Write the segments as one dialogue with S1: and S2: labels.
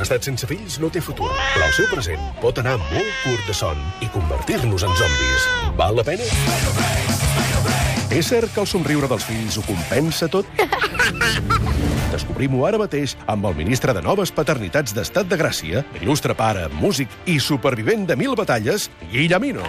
S1: estat sense fills no té futur, però el seu present pot anar molt curt de son i convertir-nos en zombis. Val la pena? És cert que el somriure dels fills ho compensa tot? Descobrim-ho ara mateix amb el ministre de Noves Paternitats d'Estat de Gràcia, il·lustre pare, músic i supervivent de mil batalles, Guillemino.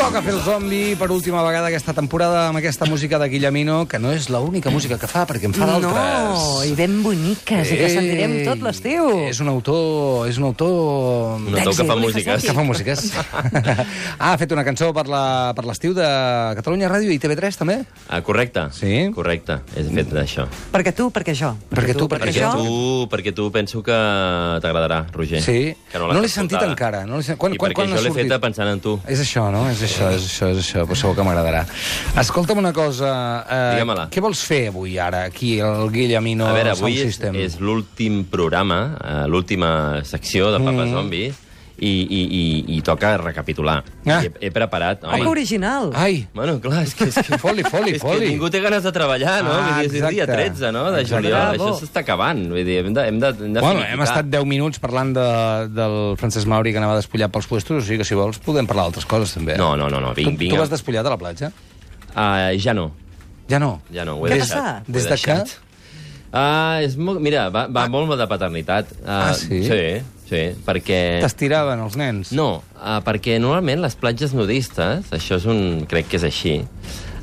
S2: Toca fer el zombi per última vegada aquesta temporada amb aquesta música de Guillemino, que no és l'única música que fa, perquè en fa d'altres.
S3: No, i ben boniques, i que sentirem tot l'estiu.
S2: Eh, És un autor... És un autor...
S4: Un autor que fa músiques.
S2: Que fa eh? músiques. ah, ha fet una cançó per la- per l'estiu de Catalunya Ràdio i TV3, també?
S4: Ah, correcte.
S2: Sí. Mm.
S4: Correcte, he fet d'això.
S3: Perquè tu, perquè jo.
S2: Perquè tu, perquè
S4: Perquè
S2: jo.
S4: tu, perquè tu penso que t'agradarà, Roger.
S2: Sí.
S4: Que
S2: No l'he
S4: has
S2: sentit
S4: escoltada.
S2: encara, no l'he sen- quan-
S4: I
S2: quan-
S4: perquè
S2: quan ha
S4: jo l'he
S2: sortit?
S4: feta pensant en tu.
S2: És això, no? És això, és això, és això. Però segur que m'agradarà. Escolta'm una cosa. eh,
S4: Digue-me-la.
S2: què vols fer avui, ara, aquí, el Guillemino
S4: a veure,
S2: Sound
S4: avui és,
S2: System?
S4: és l'últim programa, eh, l'última secció de Papa mm. Zombies, i, i, i, i toca recapitular.
S2: Ah.
S4: I He, he preparat...
S3: Oh, que original.
S2: Ai,
S4: Bueno, clar, és que... És que
S2: Foli, foli,
S4: és
S2: foli.
S4: que ningú té ganes de treballar, no?
S2: Ah,
S4: Vull dir, és el dia
S2: exacte.
S4: 13, no?, de
S2: Exacte.
S4: juliol.
S3: Bravo.
S4: Això s'està acabant. Vull dir, hem de, hem de, hem de
S2: Bueno,
S4: finiquitar.
S2: hem estat 10 minuts parlant de, del Francesc Mauri que anava despullat pels puestos, o sigui que si vols podem parlar d'altres coses també.
S4: No, no, no, no, vinc,
S2: tu,
S4: vinc.
S2: tu vas despullat a la platja?
S4: Ah, ja no,
S2: Ja no.
S4: ja no, ho he
S3: Què ha
S4: deixat.
S3: passat?
S4: ho he
S2: Des de que...
S4: deixat. Ah, és molt... Mira, va, va molt de paternitat.
S2: Ah, sí?
S4: Sí, sí, perquè...
S2: T'estiraven els nens.
S4: No, uh, perquè normalment les platges nudistes, això és un... crec que és així,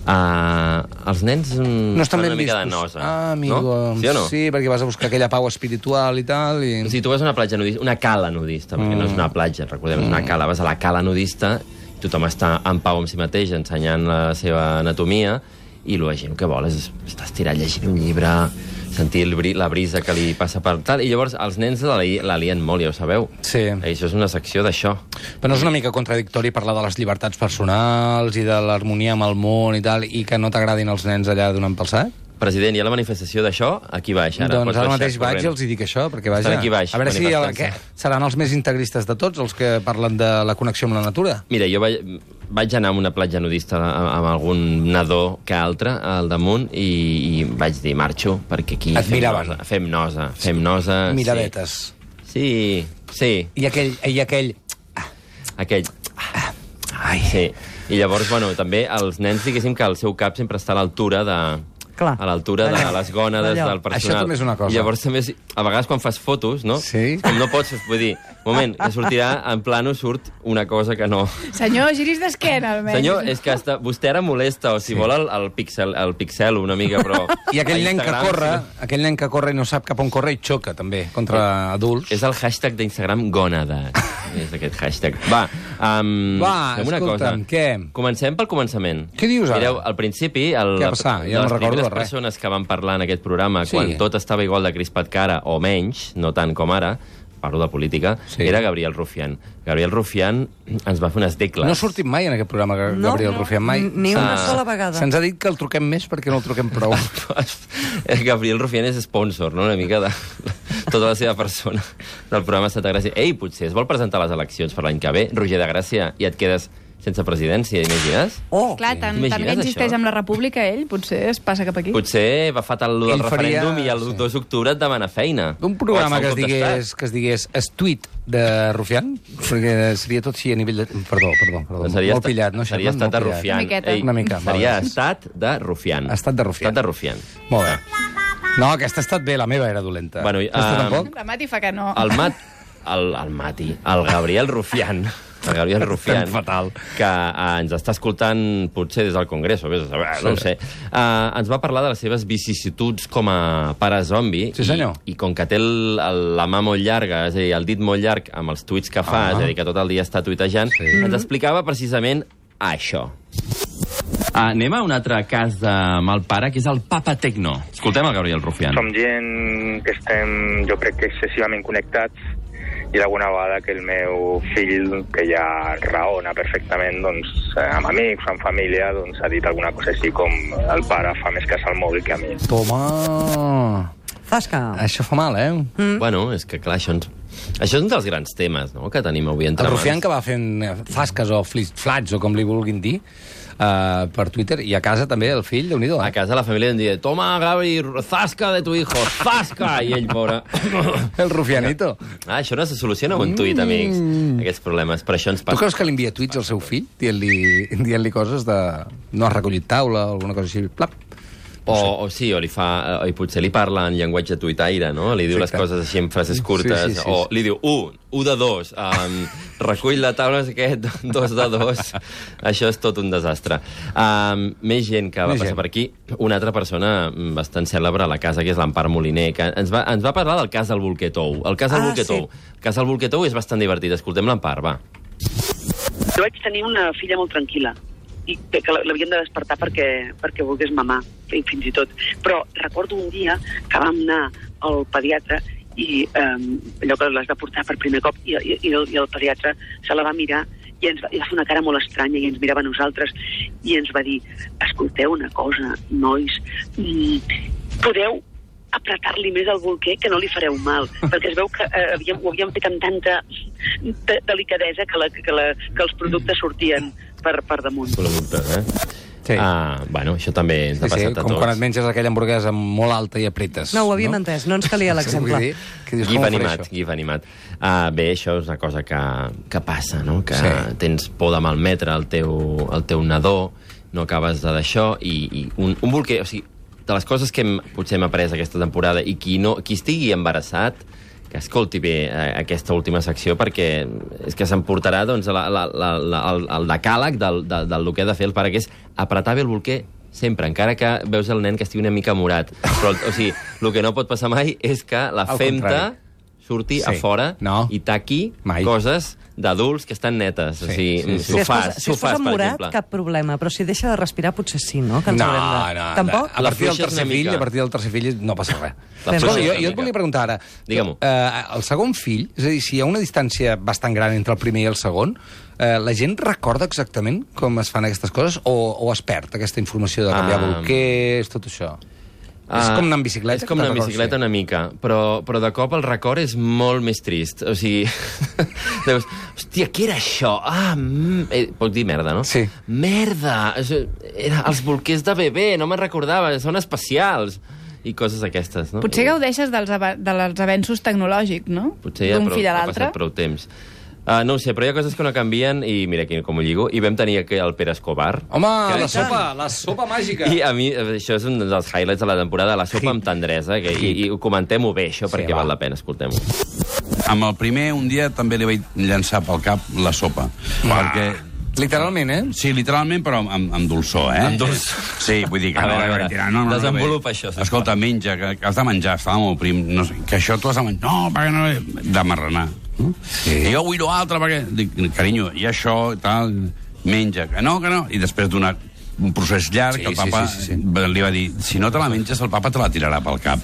S4: uh, els nens mm,
S2: No estan
S4: fan
S2: ben
S4: una mica de
S2: vistos.
S4: nosa.
S2: Ah, amigo.
S4: No? Sí o no?
S2: Sí, perquè vas a buscar aquella pau espiritual i tal. I...
S4: Si tu vas a una platja nudista, una cala nudista, perquè no és una platja, recordem, és una
S2: Mm.
S4: cala, vas a la cala nudista, tothom està en pau amb si mateix, ensenyant la seva anatomia, i la gent el que vol és estar estirat llegint un llibre, sentir el bri la brisa que li passa per tal, i llavors els nens l'ali- l'alien molt, ja ho sabeu.
S2: Sí.
S4: I això és una secció d'això.
S2: Però no és una mica contradictori parlar de les llibertats personals i de l'harmonia amb el món i tal, i que no t'agradin els nens allà donant pel sac?
S4: President, hi ha la manifestació d'això aquí baix, ara.
S2: doncs
S4: pots
S2: ara
S4: baixar
S2: mateix vaig i
S4: corrent.
S2: els hi dic això, perquè vaja...
S4: Estan aquí baix,
S2: a veure si el, que,
S4: manifestant-se.
S2: seran els més integristes de tots els que parlen de la connexió amb la natura.
S4: Mira, jo vaig, vaig anar a una platja nudista amb, amb algun nadó que altre al damunt i, i vaig dir, marxo, perquè aquí
S2: Et
S4: fem
S2: miraven.
S4: nosa, fem nosa, fem nosa...
S2: Miradetes.
S4: Sí, sí, sí
S2: I aquell... I aquell...
S4: aquell... Ai. Sí. I llavors, bueno, també els nens, diguéssim que el seu cap sempre està a l'altura de...
S3: Clar.
S4: A l'altura de
S3: Allò.
S4: les gònades
S3: Allò.
S4: del personal.
S2: Això també és una cosa.
S4: I llavors també, és- a vegades quan fas fotos, no?
S2: Sí.
S4: Com no pots, vull dir, moment, que sortirà en plano, surt una cosa que no...
S5: Senyor, giris d'esquena, almenys.
S4: Senyor, és que està, vostè ara molesta, o si sí. vol el, el, pixel, el pixel una mica, però...
S2: I aquell
S4: a
S2: nen que
S4: Instagram,
S2: corre,
S4: sí.
S2: aquell nen que corre i no sap cap on corre i xoca, també, contra adults.
S4: És el hashtag d'Instagram gònades. és aquest hashtag. Va, um,
S2: Va, escolta'm, què?
S4: Comencem pel començament.
S2: Què dius ara?
S4: Mireu, al principi... El,
S2: Què va passar? Ja no
S4: de les
S2: recordo de
S4: primeres
S2: res.
S4: persones que van parlar en aquest programa,
S2: Sí.
S4: sí. quan tot estava igual de crispat que ara, o menys, no tant com ara, parlo de política,
S2: Sí.
S4: sí. era Gabriel Rufián. Gabriel Rufián ens va fer unes tecles.
S2: No ha sortit mai en aquest programa, Ga-
S3: No,
S2: Gabriel
S3: no.
S2: Rufián, mai. Ah,
S3: Ni una
S2: Se'ns-
S3: sola vegada.
S2: Se'ns ha dit que el truquem més perquè no el truquem prou.
S4: eh, Gabriel Rufián és sponsor, no?, una mica de tota la seva persona del programa Santa Gràcia. Ei, potser es vol presentar a les eleccions per l'any que ve, Roger de Gràcia, i et quedes sense presidència, imagines?
S3: Oh,
S5: Clar, tant, tant
S4: T'imagines
S5: que existeix
S4: això?
S5: amb la república, ell potser es passa cap aquí.
S4: Potser va fatal el del
S2: Ell faria-
S4: referèndum i el
S2: sí.
S4: 2 d'octubre et demana feina.
S2: Un programa
S4: O
S2: que es,
S4: et fa un cop d'estat.
S2: digués, que es digués es tuit de Rufián, perquè seria tot així a nivell de... Perdó, perdó, perdó.
S4: Doncs seria
S2: molt
S4: estat-
S2: pillat, no?
S4: Seria
S2: Xafa?
S4: estat de
S2: Molt pillat.
S4: Rufián.
S5: Una miqueta.
S4: Ei,
S2: Una mica,
S4: Seria
S2: vale.
S4: estat de Rufián.
S2: Estat de Rufián.
S4: Estat de Rufián.
S2: Molt bé. No, aquesta ha estat bé, la meva era dolenta.
S4: Bueno, i,
S2: aquesta
S4: ah,
S2: tampoc?
S5: La Mati fa que no.
S4: El Mat... El, el Mati. El Gabriel Rufián. El Gabriel Rufián. fatal. Que eh, ens està escoltant potser des del Congrés, o vés a saber, no ho sé. Eh, ens va parlar de les seves vicissituds com a pare zombi.
S2: Sí, senyor.
S4: I, i com que té el, el, la mà molt llarga, és a dir, el dit molt llarg amb els tuits que fa,
S2: Ah.
S4: és a dir, que tot el dia està tuitejant,
S2: Sí.
S4: ens explicava precisament això. Ah, anem a un altre cas de mal pare, que és el Papa Tecno. Escoltem el Gabriel Rufián.
S6: Som gent que estem, jo crec que excessivament connectats i alguna vegada que el meu fill, que ja raona perfectament, doncs, eh, amb amics, amb família, doncs, ha dit alguna cosa així com el pare fa més cas al mòbil que a mi.
S2: Toma!
S3: Zasca.
S2: Això fa mal, eh?
S4: Mm. Bueno, és que clar, això, ens... això és un dels grans temes no? que tenim avui
S2: El
S4: entre
S2: Rufián que va fent eh, fasques o flis- flats o com li vulguin dir uh, per Twitter i a casa també el fill, eh? déu nhi
S4: A casa la família em diu, toma, Gavi, zasca de tu hijo, zasca! I ell, pobre...
S2: El Rufianito.
S4: Ah, això no se soluciona amb un
S2: Mm.
S4: tuit, amics, aquests problemes. Per això ens
S2: Tu
S4: passa.
S2: creus que li envia tuits al seu fill dient-li dient coses de... No has recollit taula o alguna cosa així? Plap.
S4: O, o sí, o li fa... O potser li parla en llenguatge tuitaire, no? Li diu les
S2: Exacte.
S4: coses així en frases curtes.
S2: Sí, sí, sí,
S4: o
S2: sí.
S4: li diu, un, un de dos, um, recull la taula, és aquest, dos de dos. Això és tot un desastre. Um, més gent que va
S2: Més
S4: passar
S2: gent.
S4: per aquí. Una altra persona mm, bastant cèlebre a la casa, que és l'Empar Moliner, que ens va, ens va parlar del cas del Volquetou. El cas del
S3: Ah,
S4: Volquetou. El cas del Volquetou és bastant divertit. Escoltem l'Empar, va.
S7: Jo vaig tenir una filla molt tranquil·la i que, que l'havien de despertar perquè, perquè volgués mamar, i fins i tot. Però recordo un dia que vam anar al pediatre i eh, allò que les va portar per primer cop i, i, i, el, i el pediatre se la va mirar i ens va, i va fer una cara molt estranya i ens mirava a nosaltres i ens va dir escolteu una cosa, nois mm, podeu apretar-li més al bolquer que no li fareu mal, perquè es veu que eh, havíem, ho havíem fet amb tanta de, delicadesa que, la, que, la, que els productes sortien per, per damunt.
S4: Productes, eh?
S2: Sí.
S4: Ah, bueno, això també ens
S2: Sí,
S4: ha
S2: sí,
S4: passat a
S2: com
S4: tots.
S2: quan et menges aquella hamburguesa molt alta i apretes.
S3: No, ho havíem entès, no ens calia l'exemple.
S2: Vull dir, que dius,
S4: Gif
S2: com ho faré,
S4: animat,
S2: això?
S4: gif animat. Uh, bé, això és una cosa que, que passa, no? Que
S2: Sí.
S4: sí. tens por de malmetre el teu, el teu nadó, no acabes de d'això, i, i un, un bolquer... O sigui, de les coses que hem, potser hem après aquesta temporada i qui, no, qui estigui embarassat, que escolti bé eh, aquesta última secció perquè és que s'emportarà doncs, la, la, la, la, el, el decàleg del, del, del que ha de fer el pare, que és apretar bé el bolquer sempre, encara que veus el nen que estigui una mica morat. Però, o sigui, el que no pot passar mai és que la
S2: Al
S4: femta
S2: contrari.
S4: surti
S2: Sí.
S4: sí. a fora
S2: No.
S4: i taqui
S2: Mai.
S4: coses d'adults que estan netes.
S2: Sí,
S4: o sigui,
S2: sí, sí.
S3: Si es
S4: sofàs,
S3: posa, si es
S4: sofàs,
S3: posa
S4: per
S3: morat,
S4: exemple.
S3: cap problema, però si deixa de respirar potser sí, no? Que ens
S2: No,
S3: haurem de...
S2: no,
S3: Tampoc?
S2: A partir del
S4: fluixa és
S2: tercer
S4: una
S2: fill,
S4: mica-
S2: a partir del tercer fill no passa res.
S4: La
S2: Escolta,
S4: fluixa és
S2: jo, jo
S4: una
S2: et
S4: mica.
S2: volia preguntar ara,
S4: Digue-m'ho.
S2: eh, el segon fill, és a dir, si hi ha una distància bastant gran entre el primer i el segon, eh, la gent recorda exactament com es fan aquestes coses o, o es perd aquesta informació de canviar
S4: Ah.
S2: um... bolquers, tot això? és com anar amb bicicleta?
S4: És com anar amb bicicleta una mica, però, però de cop el record és molt més trist. O sigui, deus, hòstia, què era això? Ah, mm, eh, pots dir merda, no?
S2: Sí.
S4: Merda! Això, era els bolquers de bebè, no me'n recordava, són especials. I coses aquestes, no?
S5: Potser
S4: I-
S5: gaudeixes dels, ava dels avenços tecnològics, no?
S4: Potser ja
S5: D'un
S4: prou,
S5: fill a
S4: ha
S5: l'altre.
S4: passat prou temps. Uh, no ho sé, però hi ha coses que no canvien i mira aquí com ho lligo. I vam tenir aquí el Pere Escobar.
S2: Home,
S4: que
S2: la sopa, la sopa màgica.
S4: I a mi eh, això és un dels highlights de la temporada, la sopa amb tendresa. Que, i, I ho comentem-ho bé, això, perquè
S2: va.
S4: val la pena, escoltem-ho.
S8: Amb el primer, un dia, també li vaig llançar pel cap la sopa. Ah. Perquè...
S2: Literalment, eh?
S8: Sí, literalment, però amb, amb dolçor, eh?
S4: Amb dolçor.
S8: Sí, vull dir que...
S4: A
S8: no,
S4: veure, a veure,
S8: vaig tirar, no, no, no,
S4: desenvolupa
S8: bé.
S4: això, sisplau.
S8: Escolta, menja, que, que has de menjar, estava molt prim. No sé, que això t'ho has de menjar. No, perquè no... De marranar. No? Sí. I jo vull lo altre, perquè... Dic, carinyo, i això, i tal... Menja, que no, que no... I després d'una un procés llarg,
S2: Sí,
S8: sí, que el papa sí, sí, sí. li va dir si no te la menges el papa te la tirarà pel cap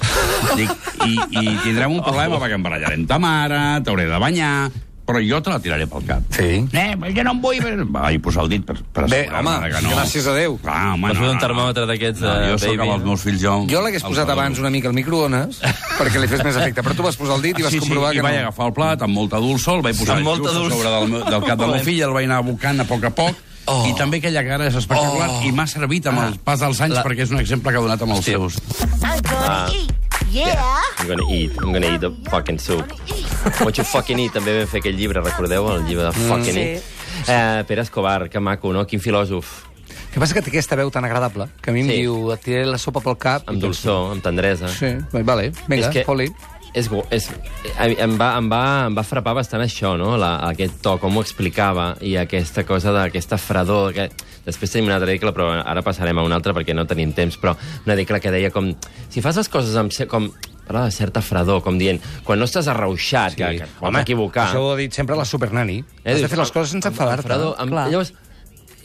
S8: Dic, i, i tindrem un problema perquè em barallarem ta mare, t'hauré de banyar però jo te la tiraré pel cap
S2: Sí.
S8: Eh, però jo no em vull... però- Vaig posar el dit per, per
S2: Bé,
S8: assegurar-me
S2: home,
S8: que no.
S2: gràcies a Déu.
S8: Clar, home,
S4: Vas fer un termòmetre d'aquests,
S8: No,
S4: eh,
S8: jo sóc
S4: David,
S8: amb els
S4: no?
S8: meus fills, jo...
S2: Jo l'hagués posat abans una mica al microones perquè li fes més efecte, però tu vas posar el dit i vas
S8: Ah, sí,
S2: comprovar
S8: sí,
S2: que
S8: i vaig
S2: no.
S8: agafar el plat amb molta dolçor, el vaig posar
S4: Amb molta
S8: just a
S4: dolçor.
S8: sobre del, meu- del cap de la meva filla, el vaig anar abocant a poc a poc, oh. i també aquella cara és espectacular, oh. i m'ha servit amb el pas dels
S4: Ah.
S8: anys,
S4: La-
S8: la... perquè és un exemple que ha donat amb els seus.
S9: I'm gonna
S4: Ah.
S9: eat. Yeah.
S4: I'm gonna eat, I'm gonna eat a fucking soup. What you fucking eat, també vam fer aquell llibre, recordeu? El llibre de fucking
S3: Sí.
S4: eat. Eh, Pere Escobar, que maco, no? Quin filòsof.
S2: El que passa que té aquesta veu tan agradable que a mi em
S4: Sí.
S2: diu, et tiraré la sopa pel cap.
S4: Amb dolçor, amb tendresa.
S2: Sí, vale, vinga,
S4: és que
S2: foli.
S4: És, gu- és, a mi em, va, em, va, em va frapar bastant això, no? La, aquest to, com ho explicava, i aquesta cosa d'aquesta fredor... Que... Després tenim una altra regla, però ara passarem a una altra perquè no tenim temps, però una regla que deia com... Si fas les coses amb... ce- com parla de certa fredor, com dient, quan no estàs arrauxat, sí. que, que et pots equivocar...
S2: Això ho ha dit sempre la supernani.
S4: Eh,
S2: Has de
S4: dius,
S2: fer les coses sense
S4: amb- amb
S2: enfadar-te.
S4: fredor, amb-
S3: Clar.
S4: Llavors,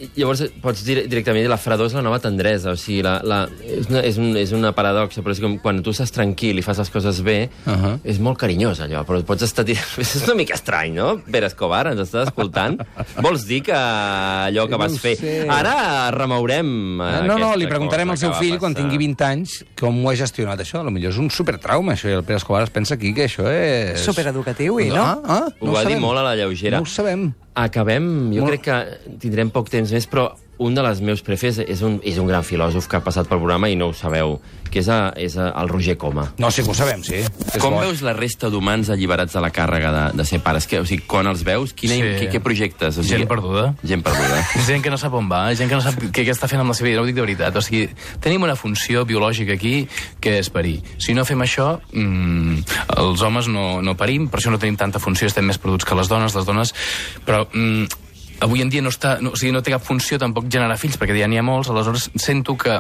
S4: I Llavors pots dir directament dir la fredor és la nova tendresa, o sigui, la, la, és, una, és, un, és una paradoxa, però és com quan tu estàs tranquil i fas les coses bé, uh
S2: Ahà.
S4: -huh. és molt carinyós allò, però pots estar tirant... És una mica estrany, no? Pere Escobar, ens estàs escoltant? Vols dir que allò que
S2: Eh, No ho
S4: vas fer...
S2: sé.
S4: Ara remourem... eh,
S2: No, no,
S4: aquesta
S2: li preguntarem
S4: cosa
S2: al seu
S4: que va
S2: fill, quan
S4: passar.
S2: tingui 20 anys, com ho ha gestionat això. A lo millor és un supertrauma, això, i el Pere Escobar es pensa aquí que això és...
S3: Supereducatiu, i no?
S2: Ah, ah,
S4: Ho
S2: no
S4: va dir
S2: sabem.
S4: molt a la lleugera.
S2: No ho sabem.
S4: Acabem, jo
S2: Molt-
S4: crec que tindrem poc temps més, però un de les meus prefers és un, és un gran filòsof que ha passat pel programa i no ho sabeu, que és, a, és a, el Roger Coma.
S2: No, sí que ho sabem, sí. És
S10: Com
S2: bo.
S10: veus la resta d'humans alliberats de la càrrega de, de ser pares? Que, o sigui, quan els veus, quina,
S11: Sí.
S10: sí. què, què projectes? O sigui,
S11: Gent perduda.
S10: Gent perduda.
S11: Gent que no sap on va, gent que no sap què, què està fent amb la seva vida, no ho dic de veritat. O sigui, tenim una funció biològica aquí que és parir. Si no fem això, mmm, els homes no, no parim, per això no tenim tanta funció, estem més produts que les dones, les dones... Però mmm, avui en dia no, està, no, o sigui, no té cap funció tampoc generar fills, perquè ja n'hi ha molts, aleshores sento que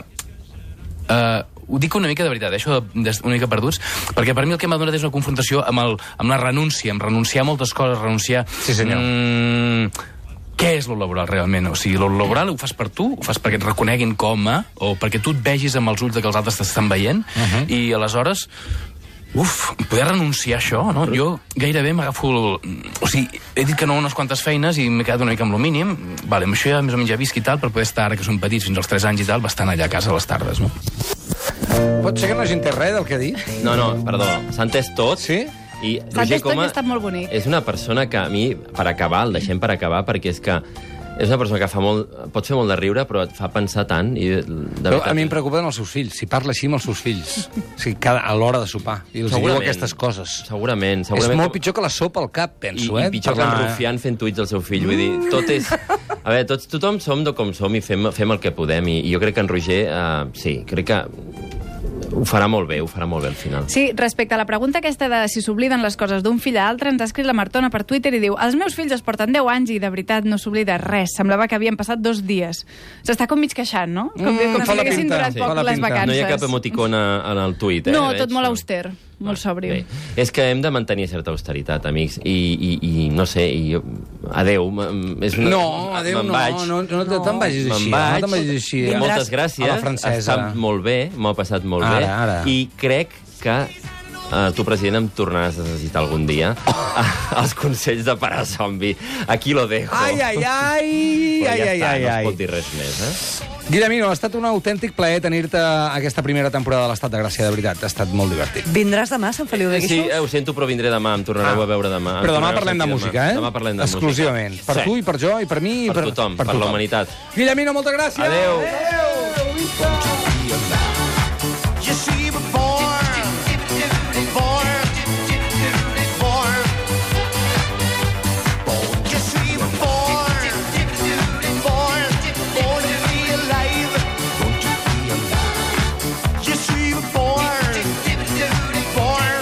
S11: eh, ho dic una mica de veritat, eh, això de- des- una mica perduts, perquè per mi el que m'ha donat és una confrontació amb, el, amb la renúncia, amb renunciar a moltes coses, renunciar...
S2: Sí, senyor.
S11: Mm, què és lo laboral realment? O sigui, lo laboral ho fas per tu, ho fas perquè et reconeguin com a, o perquè tu et vegis amb els ulls de que els altres t'estan veient,
S2: Uh-huh.
S11: uh -huh. i aleshores Uf, poder renunciar a això, no? Jo gairebé m'agafo... El... O sigui, he dit que no a unes quantes feines i m'he quedat una mica amb lo mínim. Vale, amb això ja més o menys ja visc i tal, per poder estar ara que som petits fins als 3 anys i tal, bastant allà a casa a les tardes, no?
S2: Pot ser que no hagi entès res del que ha dit.
S4: No, no, perdó, s'ha entès tot.
S2: Sí?
S4: I Roger
S5: S'ha entès tot i
S4: Coma
S5: ha estat molt bonic.
S4: és una persona que a mi, per acabar, el deixem per acabar, perquè és que és una persona que fa molt, pot fer molt de riure, però et fa pensar tant. I de
S2: Però
S4: veritat- eh?
S2: a mi em preocupen els seus fills, si parla així amb els seus fills, o sigui, cada, a l'hora de sopar, i els diu
S4: Segurament.
S2: aquestes coses.
S4: Segurament,
S2: És
S4: segurament.
S2: molt pitjor que la sopa al cap,
S4: I,
S2: penso, eh?
S4: i pitjor que en
S2: Parlar-
S4: Rufián fent tuits del seu fill. Vull dir, tot és... A veure, tots, tothom som de com som i fem, fem el que podem. I, i jo crec que en Roger, uh, sí, crec que ho farà molt bé, ho farà molt bé al final.
S5: Sí, respecte a la pregunta aquesta de si s'obliden les coses d'un fill a altre, ens ha escrit la Martona per Twitter i diu els meus fills es porten 10 anys i de veritat no s'oblida res. Semblava que havien passat dos dies. S'està com mig queixant, no? Com,
S2: Mm,
S5: com
S2: fa la
S5: si haguessin
S2: pinta,
S5: durat
S2: sí.
S5: poc
S2: Fa la
S5: les
S2: pinta.
S5: vacances.
S4: No hi ha cap emoticona en el tuit, eh?
S5: No,
S4: veig, Ah,
S5: tot molt auster, molt sobri.
S4: Bé, és que hem de mantenir certa austeritat, amics, i, i, i no sé, i jo... Adéu. m- És una...
S2: No, adéu,
S4: me'n
S2: no,
S4: vaig.
S2: no, no, no te'n vagis
S4: Me'n
S2: així. eh,
S4: vaig.
S2: No te'n vagis així. eh.
S4: I Moltes gràcies.
S2: A la francesa.
S4: Ha estat molt bé, m'ho ha passat molt
S2: Ara,
S4: bé.
S2: ara.
S4: I crec que Uh, tu, president, em tornaràs a necessitar algun dia els consells de parar zombi. Aquí lo dejo.
S2: Oh. Ai, ai, ai,
S4: Però
S2: ai,
S4: ja
S2: ai,
S4: està,
S2: ai,
S4: no
S2: ai.
S4: es pot dir res més, eh?
S2: Guillemino, ha estat un autèntic plaer tenir-te aquesta primera temporada de l'Estat de Gràcia, de veritat. Ha estat molt divertit.
S3: Vindràs demà a Sant Feliu de
S4: Sí,
S3: Guíxols?
S4: eh, ho sento, però vindré demà, em tornareu
S2: Ah.
S4: a veure demà. em
S2: Però demà
S4: tornareu a
S2: parlem de
S4: sentir
S2: música, eh?
S4: Demà parlem de música.
S2: Exclusivament. Per
S4: Sí.
S2: tu i per jo i per mi. i
S4: Per tothom, per la humanitat.
S2: Guillemino, moltes gràcies.
S4: Adéu.
S9: You see, before, before, before, you see, before, before, born to be alive. You see, before, before,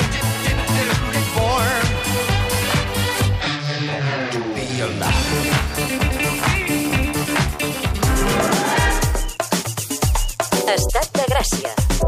S9: before, to be alive.
S12: Estat de Gràcia.